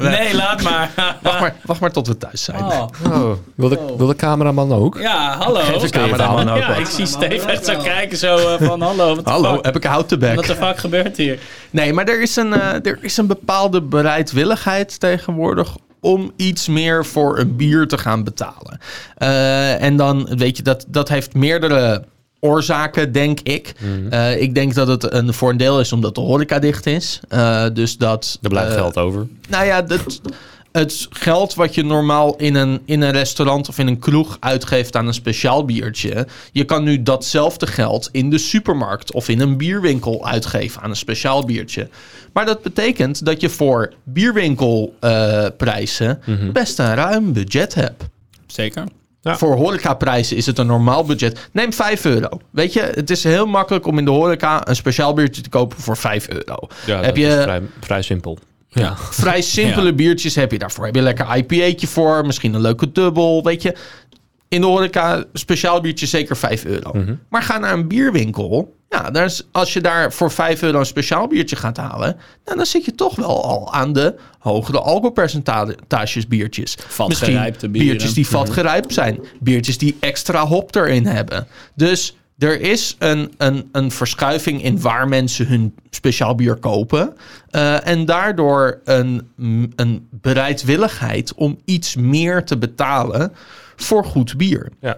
Speaker 2: Nee, laat maar.
Speaker 5: Wacht maar. Wacht maar tot we thuis zijn.
Speaker 2: Oh.
Speaker 4: Oh, wil, de, wil de cameraman ook?
Speaker 2: Ja, hallo.
Speaker 5: de cameraman ook
Speaker 2: Ja,
Speaker 5: wat.
Speaker 2: ik zie Steve echt zo kijken, zo eh, van hallo. Wat de
Speaker 5: Hallo,
Speaker 2: fuck?
Speaker 5: heb ik een houten bek?
Speaker 2: Wat de fuck gebeurt hier?
Speaker 5: Nee, maar er is een, eh, er is een bepaalde bereidwilligheid tegenwoordig om iets meer voor een bier te gaan betalen. Eh, en dan weet je, dat, dat heeft meerdere oorzaken, denk ik.
Speaker 4: Mhm.
Speaker 5: Eh, ik denk dat het een, voor een deel is omdat de horeca dicht is. Eh, dus dat...
Speaker 4: Er blijft
Speaker 5: eh,
Speaker 4: geld over.
Speaker 5: nou ja, dat, het geld wat je normaal in een, in een restaurant of in een kroeg uitgeeft aan een speciaal biertje. Je kan nu datzelfde geld in de supermarkt of in een bierwinkel uitgeven aan een speciaal biertje. Maar dat betekent dat je voor bierwinkelprijzen
Speaker 4: Mhm.
Speaker 5: best een ruim budget hebt.
Speaker 2: Zeker.
Speaker 5: Voor horecaprijzen is het een normaal budget. Neem 5 euro. Weet je, het is heel makkelijk om in de horeca een speciaal biertje te kopen voor 5 euro.
Speaker 4: Ja,
Speaker 5: Heb
Speaker 4: dat
Speaker 5: je-
Speaker 4: is vrij, vrij simpel.
Speaker 2: Ja.
Speaker 5: vrij simpele
Speaker 2: Ja.
Speaker 5: biertjes heb je daarvoor. Heb je een lekker IPA'tje voor, misschien een leuke dubbel, weet je. In de horeca, speciaal biertje zeker 5 euro.
Speaker 2: Mhm.
Speaker 5: Maar ga naar een bierwinkel. Ja, daar is, als je daar voor 5 euro een speciaal biertje gaat halen... Nou, dan zit je toch wel al aan de hogere alcoholpercentages biertjes.
Speaker 2: Vatgerijpte bieren.
Speaker 5: biertjes die vatgerijpt zijn. Biertjes die extra hop erin hebben. Dus er is een, een, een verschuiving in waar mensen hun speciaal bier kopen. Eh, en daardoor een, mm, een bereidwilligheid om iets meer te betalen voor goed bier.
Speaker 4: Ja.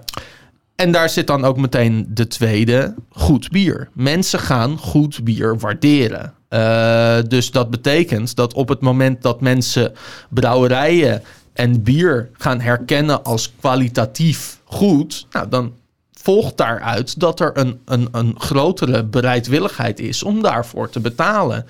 Speaker 5: En daar zit dan ook meteen de tweede, goed bier. Mensen gaan goed bier waarderen. Eh, dus dat betekent dat op het moment dat mensen brouwerijen en bier gaan herkennen als kwalitatief goed, nou, dan volgt daaruit dat er een, een, een grotere bereidwilligheid is om daarvoor te betalen.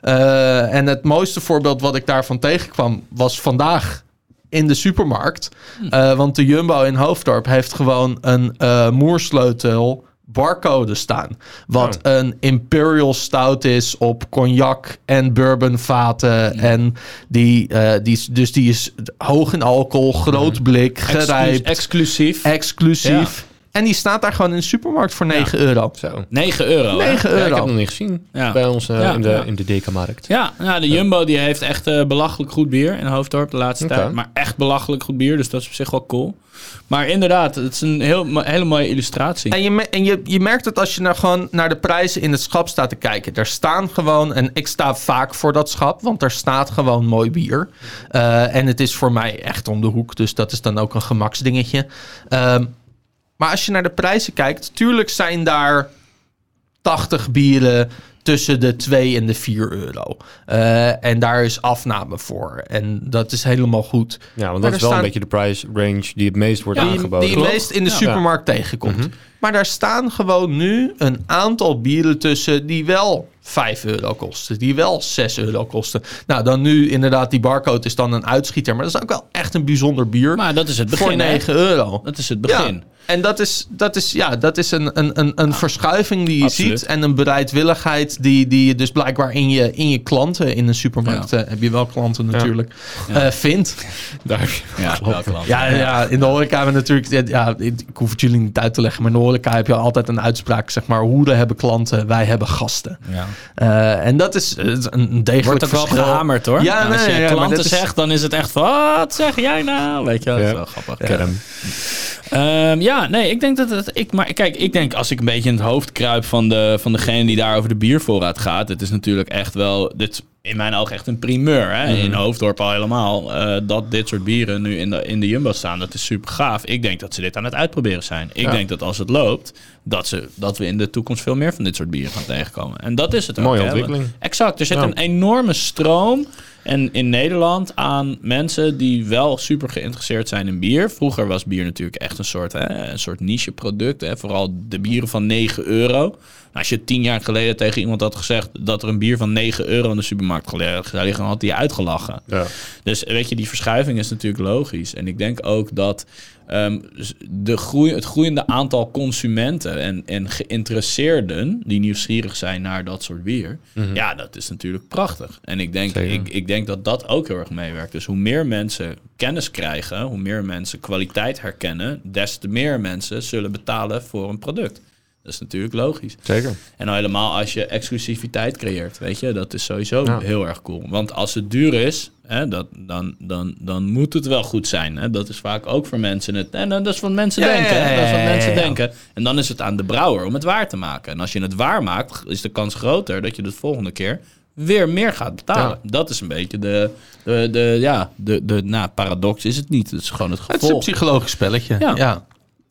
Speaker 5: Eh, en het mooiste voorbeeld wat ik daarvan tegenkwam was vandaag in de supermarkt.
Speaker 4: Hmm.
Speaker 5: Eh, want de Jumbo in Hoofddorp heeft gewoon een eh, moersleutel barcode staan. Wat
Speaker 4: Oh.
Speaker 5: een imperial stout is op cognac en bourbonvaten.
Speaker 4: Hmm.
Speaker 5: En die, eh, die, is- dus die is hoog in alcohol,
Speaker 4: Hmm.
Speaker 5: groot blik,
Speaker 2: Exclu-
Speaker 5: gerijpt,
Speaker 2: exclusief.
Speaker 5: exclusief. En die staat daar gewoon in de supermarkt voor 9 euro.
Speaker 4: Zo.
Speaker 2: 9 euro. hè?
Speaker 5: 9
Speaker 4: Ja, ik heb
Speaker 5: euro.
Speaker 4: hem nog niet gezien
Speaker 2: Ja.
Speaker 4: bij ons eh,
Speaker 2: Ja,
Speaker 4: in de,
Speaker 2: ja.
Speaker 4: in de Dekamarkt.
Speaker 2: Ja, nou, de Jumbo die heeft echt eh, belachelijk goed bier in Hoofddorp de laatste
Speaker 4: Oké.
Speaker 2: tijd. Maar echt belachelijk goed bier, dus dat is op zich wel cool. Maar inderdaad, het is een heel, mo- hele mooie illustratie.
Speaker 5: En, je, me- en je, je merkt het als je nou gewoon naar de prijzen in het schap staat te kijken. Daar staan gewoon, en ik sta vaak voor dat schap, want daar staat gewoon mooi bier. Eh, en het is voor mij echt om de hoek, dus dat is dan ook een gemaksdingetje. Ehm, maar als je naar de prijzen kijkt, tuurlijk zijn daar 80 bieren tussen de 2 en de 4 euro. Eh, en daar is afname voor. En dat is helemaal goed.
Speaker 4: Ja, want
Speaker 5: Maar
Speaker 4: dat is wel
Speaker 5: er
Speaker 4: een
Speaker 5: staan-
Speaker 4: beetje de price range die het meest wordt
Speaker 5: Ja, die,
Speaker 4: aangeboden.
Speaker 5: die je
Speaker 2: Klopt.
Speaker 5: meest in de
Speaker 2: Ja. Mhm.
Speaker 5: supermarkt tegenkomt. Maar daar staan gewoon nu een aantal bieren tussen die wel 5 euro kosten, die wel 6 euro kosten. Nou, dan nu inderdaad, die barcode is dan een uitschieter, maar dat is ook wel echt een bijzonder bier
Speaker 2: Maar dat is het
Speaker 5: voor
Speaker 2: begin. hè?
Speaker 5: 9 euro.
Speaker 2: Dat is het
Speaker 5: Ja,
Speaker 2: begin.
Speaker 5: en dat is, dat is, ja, dat is een, een, een, een verschuiving die je
Speaker 2: absoluut.
Speaker 5: ziet en een bereidwilligheid die, die je dus blijkbaar in je, in je klanten in een supermarkt, eh, heb je wel klanten natuurlijk, eh, vindt.
Speaker 2: Ja, wel klopt.
Speaker 5: Ja, ja, in de horeca hebben we natuurlijk... Ja, ik ik hoef het jullie niet uit te leggen, maar in de horeca heb je altijd een uitspraak. Zeg maar, hoeren hebben klanten, wij hebben gasten.
Speaker 2: Ja.
Speaker 5: Eh, en dat is eh, een degelijk
Speaker 2: Wordt er wel
Speaker 5: verschil.
Speaker 2: gehamerd hoor.
Speaker 5: Ja,
Speaker 2: En als
Speaker 5: nee,
Speaker 2: je
Speaker 5: ja, maar
Speaker 2: klanten
Speaker 5: dit is-
Speaker 2: zegt, dan is het echt van, wat zeg jij nou? Weet je, wel, dat is
Speaker 4: Ja.
Speaker 2: wel grappig.
Speaker 4: Ken hem.
Speaker 2: Ehm, ja, nee, ik denk dat het. Ik, maar kijk, ik denk als ik een beetje in het hoofd kruip van, de, van degene die daar over de biervoorraad gaat. Het is natuurlijk echt wel. Dit is in mijn ogen echt een primeur. Hè?
Speaker 4: Mhm.
Speaker 2: In Hoofddorp al helemaal. eh, dat dit soort bieren nu in de, in de jumbo staan. Dat is super gaaf. Ik denk dat ze dit aan het uitproberen zijn. Ik denk dat als het loopt, dat, ze, dat we in de toekomst veel meer van dit soort bieren gaan tegenkomen. En dat is het. ook,
Speaker 4: Mooie
Speaker 2: hè, want-
Speaker 4: ontwikkeling.
Speaker 2: Exact. Er zit een enorme stroom en in Nederland aan mensen die wel super geïnteresseerd zijn in bier. Vroeger was bier natuurlijk echt een soort, hè, een soort niche product. Hè, vooral de bieren van 9 euro. Nou, als je tien jaar geleden tegen iemand had gezegd dat er een bier van 9 euro in de supermarkt gele- zou liggen, dan had hij je uitgelachen.
Speaker 4: Ja.
Speaker 2: Dus weet je, die verschuiving is natuurlijk logisch. En ik denk ook dat ehm, s- de groei, het groeiende aantal consumenten en, en geïnteresseerden die nieuwsgierig zijn naar dat soort bier, ja, dat is natuurlijk prachtig. En ik denk,
Speaker 4: Zeker.
Speaker 2: ik, ik denk dat dat ook heel erg meewerkt. Dus hoe meer mensen kennis krijgen, hoe meer mensen kwaliteit herkennen, des te meer mensen zullen betalen voor een product. Dat is natuurlijk logisch.
Speaker 4: Zeker.
Speaker 2: En al helemaal als je exclusiviteit creëert, weet je, dat is sowieso heel erg cool. Want als het duur is, hè, dat, dan, dan, dan moet het wel goed zijn. Hè. Dat is vaak ook voor mensen het. En dat is wat mensen
Speaker 5: Ja,
Speaker 2: denken.
Speaker 5: ja,
Speaker 2: hè. dat is
Speaker 5: ja,
Speaker 2: wat
Speaker 5: ja,
Speaker 2: mensen
Speaker 5: ja.
Speaker 2: denken. En dan is het aan de brouwer om het waar te maken. En als je het waar maakt, is de kans groter dat je de volgende keer weer meer gaat betalen. Dat is een beetje de, de, de ja, de, de, nou, paradox is het niet. Het is gewoon het
Speaker 5: Het is een
Speaker 2: gevolg.
Speaker 5: psychologisch spelletje.
Speaker 2: Ja.
Speaker 5: Ja.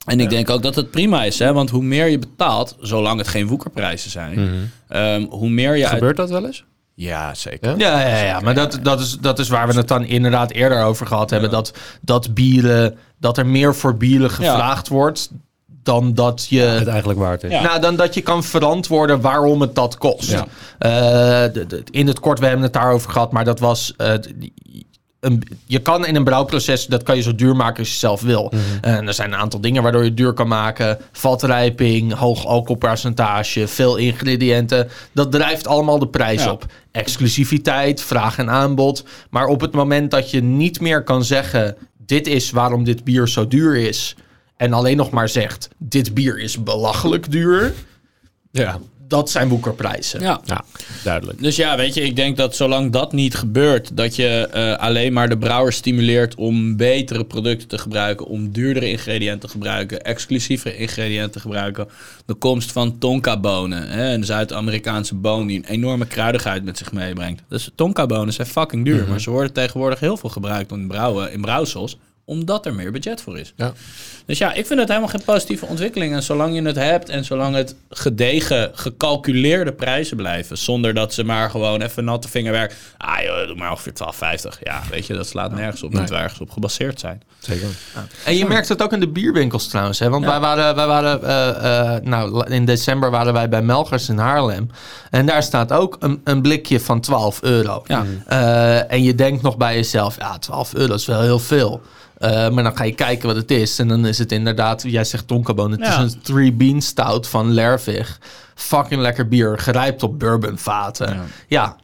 Speaker 2: En ik denk ook dat het prima is, hè? want hoe meer je betaalt, zolang het geen woekerprijzen zijn, ehm, hoe meer je uit...
Speaker 4: Mhm. Gebeurt dat wel eens?
Speaker 2: Ja, zeker.
Speaker 4: Ja?
Speaker 5: Ja, ja, ja, maar dat, dat, is, dat is waar we het dan inderdaad eerder over gehad hebben. Dat, dat, bieren, dat er meer voor bieren gevraagd wordt dan dat je...
Speaker 4: Het eigenlijk waard is.
Speaker 2: Ja.
Speaker 5: Nou, dan dat je kan verantwoorden waarom het dat kost.
Speaker 2: Ja.
Speaker 5: Eh, de- de- in het kort, we hebben het daarover gehad, maar dat was. eh, d- een, je kan in een brouwproces, dat kan je zo duur maken als je zelf wil.
Speaker 2: Mhm.
Speaker 5: En er zijn een aantal dingen waardoor je het duur kan maken. Vatrijping, hoog alcoholpercentage, veel ingrediënten. Dat drijft allemaal de prijs
Speaker 2: Ja.
Speaker 5: op. Exclusiviteit, vraag en aanbod. Maar op het moment dat je niet meer kan zeggen... dit is waarom dit bier zo duur is... en alleen nog maar zegt... dit bier is belachelijk duur...
Speaker 4: Ja.
Speaker 5: dat zijn woekerprijzen.
Speaker 2: Ja.
Speaker 4: Ja, duidelijk.
Speaker 2: Dus ja, weet je, ik denk dat zolang dat niet gebeurt, dat je eh, alleen maar de brouwer stimuleert om betere producten te gebruiken, om duurdere ingrediënten te gebruiken, exclusieve ingrediënten te gebruiken. De komst van tonkabonen, hè, een Zuid-Amerikaanse boon die een enorme kruidigheid met zich meebrengt. Dus tonkabonen zijn fucking duur, maar ze worden tegenwoordig heel veel gebruikt in, brouwen, in brouwsels omdat er meer budget voor is.
Speaker 4: Ja.
Speaker 2: Dus ja, ik vind het helemaal geen positieve ontwikkeling. En zolang je het hebt en zolang het gedegen, gecalculeerde prijzen blijven, zonder dat ze maar gewoon even natte vingerwerk. Ah joh, doe maar ongeveer 12,50. Ja, weet je, dat slaat nergens op. Moet ergens op gebaseerd zijn.
Speaker 4: Zeker.
Speaker 5: En je merkt het ook in de bierwinkels trouwens. Hè? Want wij waren, wij waren eh, eh, nou, la- in december waren wij bij Melgers in Haarlem. En daar staat ook een, een blikje van 12 euro.
Speaker 2: Ja.
Speaker 5: Eh, en je denkt nog bij jezelf, ja, 12 euro is wel heel veel. Eh, maar dan ga je kijken wat het is. En dan is het inderdaad, jij zegt tonkabon. Het
Speaker 2: Ja.
Speaker 5: is een three bean stout van Lervig. Fucking lekker bier. Gerijpt op bourbonvaten. Ja.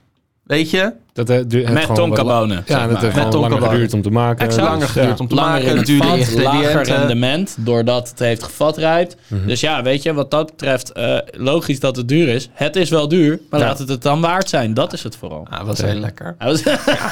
Speaker 5: weet je?
Speaker 4: Dat, eh, duurt- heeft
Speaker 2: Met
Speaker 4: gewoon wat la-
Speaker 2: tonkabonen, zeg
Speaker 4: Ja,
Speaker 2: maar.
Speaker 4: dat heeft
Speaker 5: Met
Speaker 4: gewoon langer
Speaker 5: tonkabonen.
Speaker 4: geduurd om te maken. Dus,
Speaker 5: Exact. Langer geduurd om te
Speaker 2: Langer
Speaker 5: maken.
Speaker 2: in het
Speaker 5: Dure
Speaker 2: vat, lager
Speaker 5: ingrediënten.
Speaker 2: rendement, doordat het heeft gevat rijpt. Dus ja, weet je, wat dat betreft, eh, logisch dat het duur is. Het is wel duur, maar laat het het dan waard zijn. Dat is het vooral.
Speaker 5: Ah, was heel lekker.
Speaker 2: Hij was- [LAUGHS]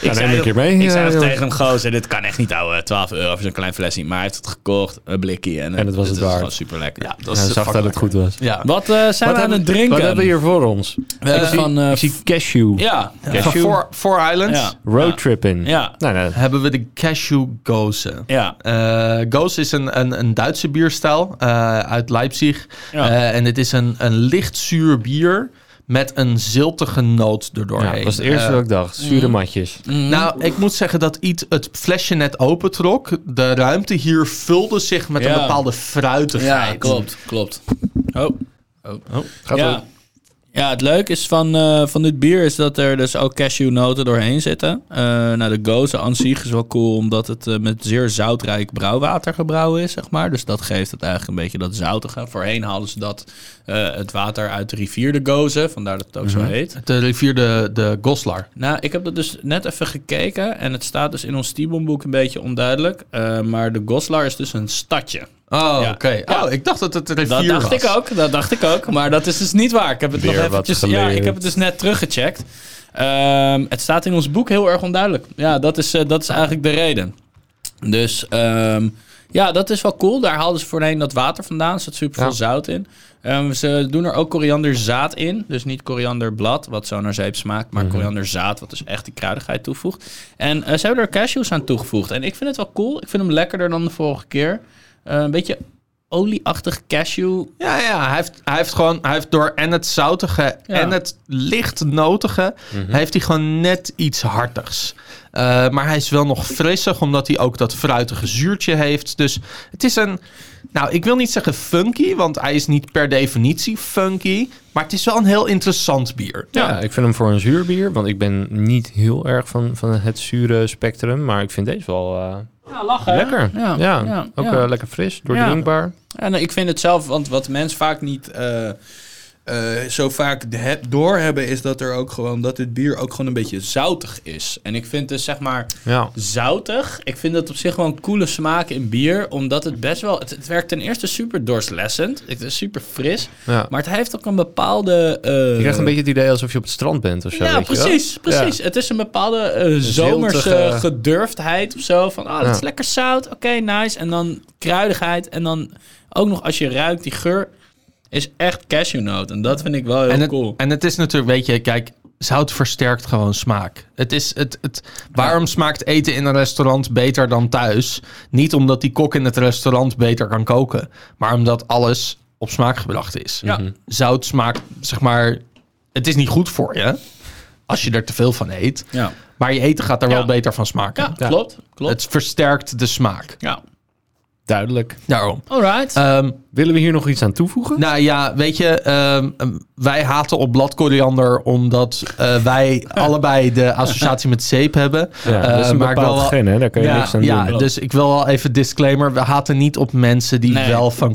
Speaker 2: ik
Speaker 4: neem ik
Speaker 2: ook-
Speaker 4: een keer mee,
Speaker 2: Ik
Speaker 4: eh,
Speaker 2: zei ook
Speaker 4: joh.
Speaker 2: tegen hem, gozer, dit kan echt niet ouwe. 12 euro voor zo'n klein flesje. Maar hij heeft het gekocht, een blikje. En, eh,
Speaker 4: En het was het waard.
Speaker 2: super lekker. Ja, dat
Speaker 4: Ja, dus-
Speaker 2: was
Speaker 4: zag dat het goed was.
Speaker 5: Ja.
Speaker 2: Wat eh, zijn we aan het drinken?
Speaker 4: Wat hebben we hier voor ons?
Speaker 2: We hebben van... eh,
Speaker 4: ik zie cashew.
Speaker 2: ja,
Speaker 5: Van
Speaker 2: cashew.
Speaker 5: Four, Four Islands
Speaker 2: Ja,
Speaker 4: Roadtripping.
Speaker 2: Ja.
Speaker 4: Nou, nou,
Speaker 5: hebben we de Cashew Goze.
Speaker 2: ja.
Speaker 5: Eh Goos is een, een, een Duitse bierstijl eh, uit Leipzig.
Speaker 2: Ja.
Speaker 5: Eh, en het is een, een licht zuur bier met een ziltige noot erdoorheen.
Speaker 4: ja, dat was het eerste
Speaker 5: Eh,
Speaker 4: wat ik dacht. Zure matjes.
Speaker 5: nou, ik moet zeggen dat iets het flesje net opentrok. De ruimte hier vulde zich met een
Speaker 2: Ja.
Speaker 5: bepaalde fruitigheid.
Speaker 2: Ja, klopt, klopt. Oh.
Speaker 4: Gaat
Speaker 2: ja.
Speaker 4: ook.
Speaker 2: Ja, het leuke is van, eh, van dit bier is dat er dus ook cashewnoten doorheen zitten. Eh, nou, de goze aan zich is wel cool omdat het eh, met zeer zoutrijk brouwwater gebrouwen is, zeg maar. Dus dat geeft het eigenlijk een beetje dat zoutige. Voorheen hadden ze dat, eh, het water uit de rivier de goze, vandaar dat het ook
Speaker 4: Mhm.
Speaker 2: zo heet.
Speaker 5: De eh, rivier de, de Goslar.
Speaker 2: Nou, ik heb dat dus net even gekeken en het staat dus in ons Tibonboek een beetje onduidelijk. Eh, maar de Goslar is dus een stadje.
Speaker 5: Oh,
Speaker 2: Ja.
Speaker 5: oké. Oh, ik dacht dat het de rivier
Speaker 2: Dat dacht
Speaker 5: was.
Speaker 2: ik ook, dat dacht ik ook. Maar dat is dus niet waar. Ik heb het
Speaker 4: Weer
Speaker 2: nog
Speaker 4: wat
Speaker 2: eventjes, ja,
Speaker 4: geleerd.
Speaker 2: ik heb het dus net teruggecheckt. Ehm, het staat in ons boek heel erg onduidelijk. Ja, dat is, eh, dat is eigenlijk de reden. Dus ehm, ja, dat is wel cool. Daar haalden ze voorheen dat water vandaan. Er zat super veel
Speaker 4: Ja.
Speaker 2: zout in. Ehm, ze doen er ook korianderzaad in. Dus niet korianderblad, wat zo naar zeep smaakt.
Speaker 4: Mhm.
Speaker 2: Maar korianderzaad, wat dus echt die kruidigheid toevoegt. En eh, ze hebben er cashews aan toegevoegd. En ik vind het wel cool. Ik vind hem lekkerder dan de vorige keer. Eh, een beetje olieachtig cashew
Speaker 5: Ja, ja hij, heeft, hij heeft gewoon, hij heeft door en het zoutige
Speaker 2: Ja.
Speaker 5: en het licht notige, heeft hij gewoon net iets hartigs. Eh, maar hij is wel nog frissig, omdat hij ook dat fruitige zuurtje heeft. Dus het is een, nou ik wil niet zeggen funky, want hij is niet per definitie funky. Maar het is wel een heel interessant bier.
Speaker 4: Ja. ik vind hem voor een zuur bier, want ik ben niet heel erg van, van het zure spectrum, maar ik vind deze wel eh,
Speaker 2: Ja, lachen.
Speaker 4: lekker.
Speaker 2: Ja,
Speaker 4: Ja,
Speaker 2: ja,
Speaker 4: ook
Speaker 2: ja.
Speaker 4: eh, lekker fris, doordrinkbaar.
Speaker 2: Ja, nou, ik vind het zelf, want wat mensen vaak niet eh, eh, zo vaak de- het doorhebben, is dat er ook gewoon dat dit bier ook gewoon een beetje zoutig is. En ik vind dus zeg maar
Speaker 4: Ja.
Speaker 2: zoutig. Ik vind dat op zich wel een coole smaak in bier, omdat het best wel. Het, het werkt ten eerste super doorslessend. Het is super fris,
Speaker 4: Ja.
Speaker 2: maar het heeft ook een bepaalde. eh,
Speaker 4: Je krijgt een beetje het idee alsof je op het strand bent of zo.
Speaker 2: Ja,
Speaker 4: weet je wel.
Speaker 2: precies. precies. Het is een bepaalde eh, zomerse
Speaker 4: ziltige-
Speaker 2: gedurfdheid of zo. Van, ah, dat
Speaker 4: Ja.
Speaker 2: is lekker zout. Oké, nice. En dan kruidigheid. En dan ook nog als je ruikt, die geur is echt cashewnoot. En dat vind ik wel heel
Speaker 5: en, het,
Speaker 2: cool.
Speaker 5: en het is natuurlijk, weet je, kijk, zout versterkt gewoon smaak. Het is het, het, waarom smaakt eten in een restaurant beter dan thuis? Niet omdat die kok in het restaurant beter kan koken, maar omdat alles op smaak gebracht is.
Speaker 2: Ja.
Speaker 5: Zout smaakt, zeg maar, het is niet goed voor je als je er te veel van eet,
Speaker 2: Ja.
Speaker 5: maar je eten gaat er
Speaker 2: Ja.
Speaker 5: wel beter van smaken.
Speaker 2: Ja, klopt. klopt.
Speaker 5: Het versterkt de smaak.
Speaker 2: Ja.
Speaker 4: Duidelijk.
Speaker 5: Daarom.
Speaker 2: Alright.
Speaker 5: Ehm,
Speaker 4: Willen we hier nog iets aan toevoegen?
Speaker 5: [LAUGHS] Nou ja, weet je, ehm, ehm, wij haten op bladkoriander omdat eh, wij allebei de associatie met zeep hebben.
Speaker 4: ja, dus dat is
Speaker 5: Eh,
Speaker 4: een
Speaker 5: maar ik
Speaker 4: bepaald
Speaker 5: wil wel-
Speaker 4: gen, hè? daar kun je
Speaker 5: Ja,
Speaker 4: niks aan
Speaker 5: ja,
Speaker 4: doen.
Speaker 5: dus ik wil wel even disclaimer. We haten niet op mensen die
Speaker 2: Nee.
Speaker 5: wel van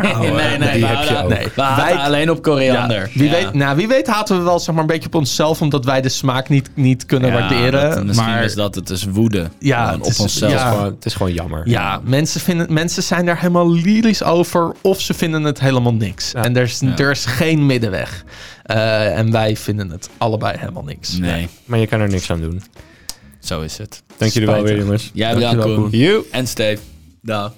Speaker 2: [LAUGHS] nee,
Speaker 5: houden.
Speaker 2: nee, nee.
Speaker 4: die
Speaker 2: we
Speaker 4: heb je
Speaker 2: houden-
Speaker 4: ook.
Speaker 2: nee, We haten
Speaker 5: Wij-
Speaker 2: alleen op
Speaker 5: Ja,
Speaker 2: koriander.
Speaker 5: wie,
Speaker 2: Ja.
Speaker 5: Weet, nou, wie weet haten we wel zeg maar, een beetje op onszelf omdat wij de smaak niet, niet kunnen
Speaker 2: Ja, dat-
Speaker 5: waarderen.
Speaker 2: misschien
Speaker 5: maar
Speaker 2: is dat het is woede.
Speaker 5: Ja,
Speaker 2: Gewoon
Speaker 5: het
Speaker 2: op
Speaker 5: is-
Speaker 2: onszelf.
Speaker 5: ja.
Speaker 4: Het is gewoon- het is gewoon jammer.
Speaker 5: ja, mensen, vinden, mensen zijn daar helemaal lyrisch over of ze vinden het helemaal niks. En er is, er is geen middenweg. Eh, en wij vinden het allebei helemaal niks.
Speaker 2: Nee,
Speaker 4: Maar je kan er niks aan doen.
Speaker 2: zo is het.
Speaker 4: Dank jullie wel weer,
Speaker 5: Spijtig.
Speaker 4: jongens.
Speaker 2: Jij bedankt,
Speaker 5: Dankjewel,
Speaker 2: Koen.
Speaker 4: You.
Speaker 2: En Steve. Dag.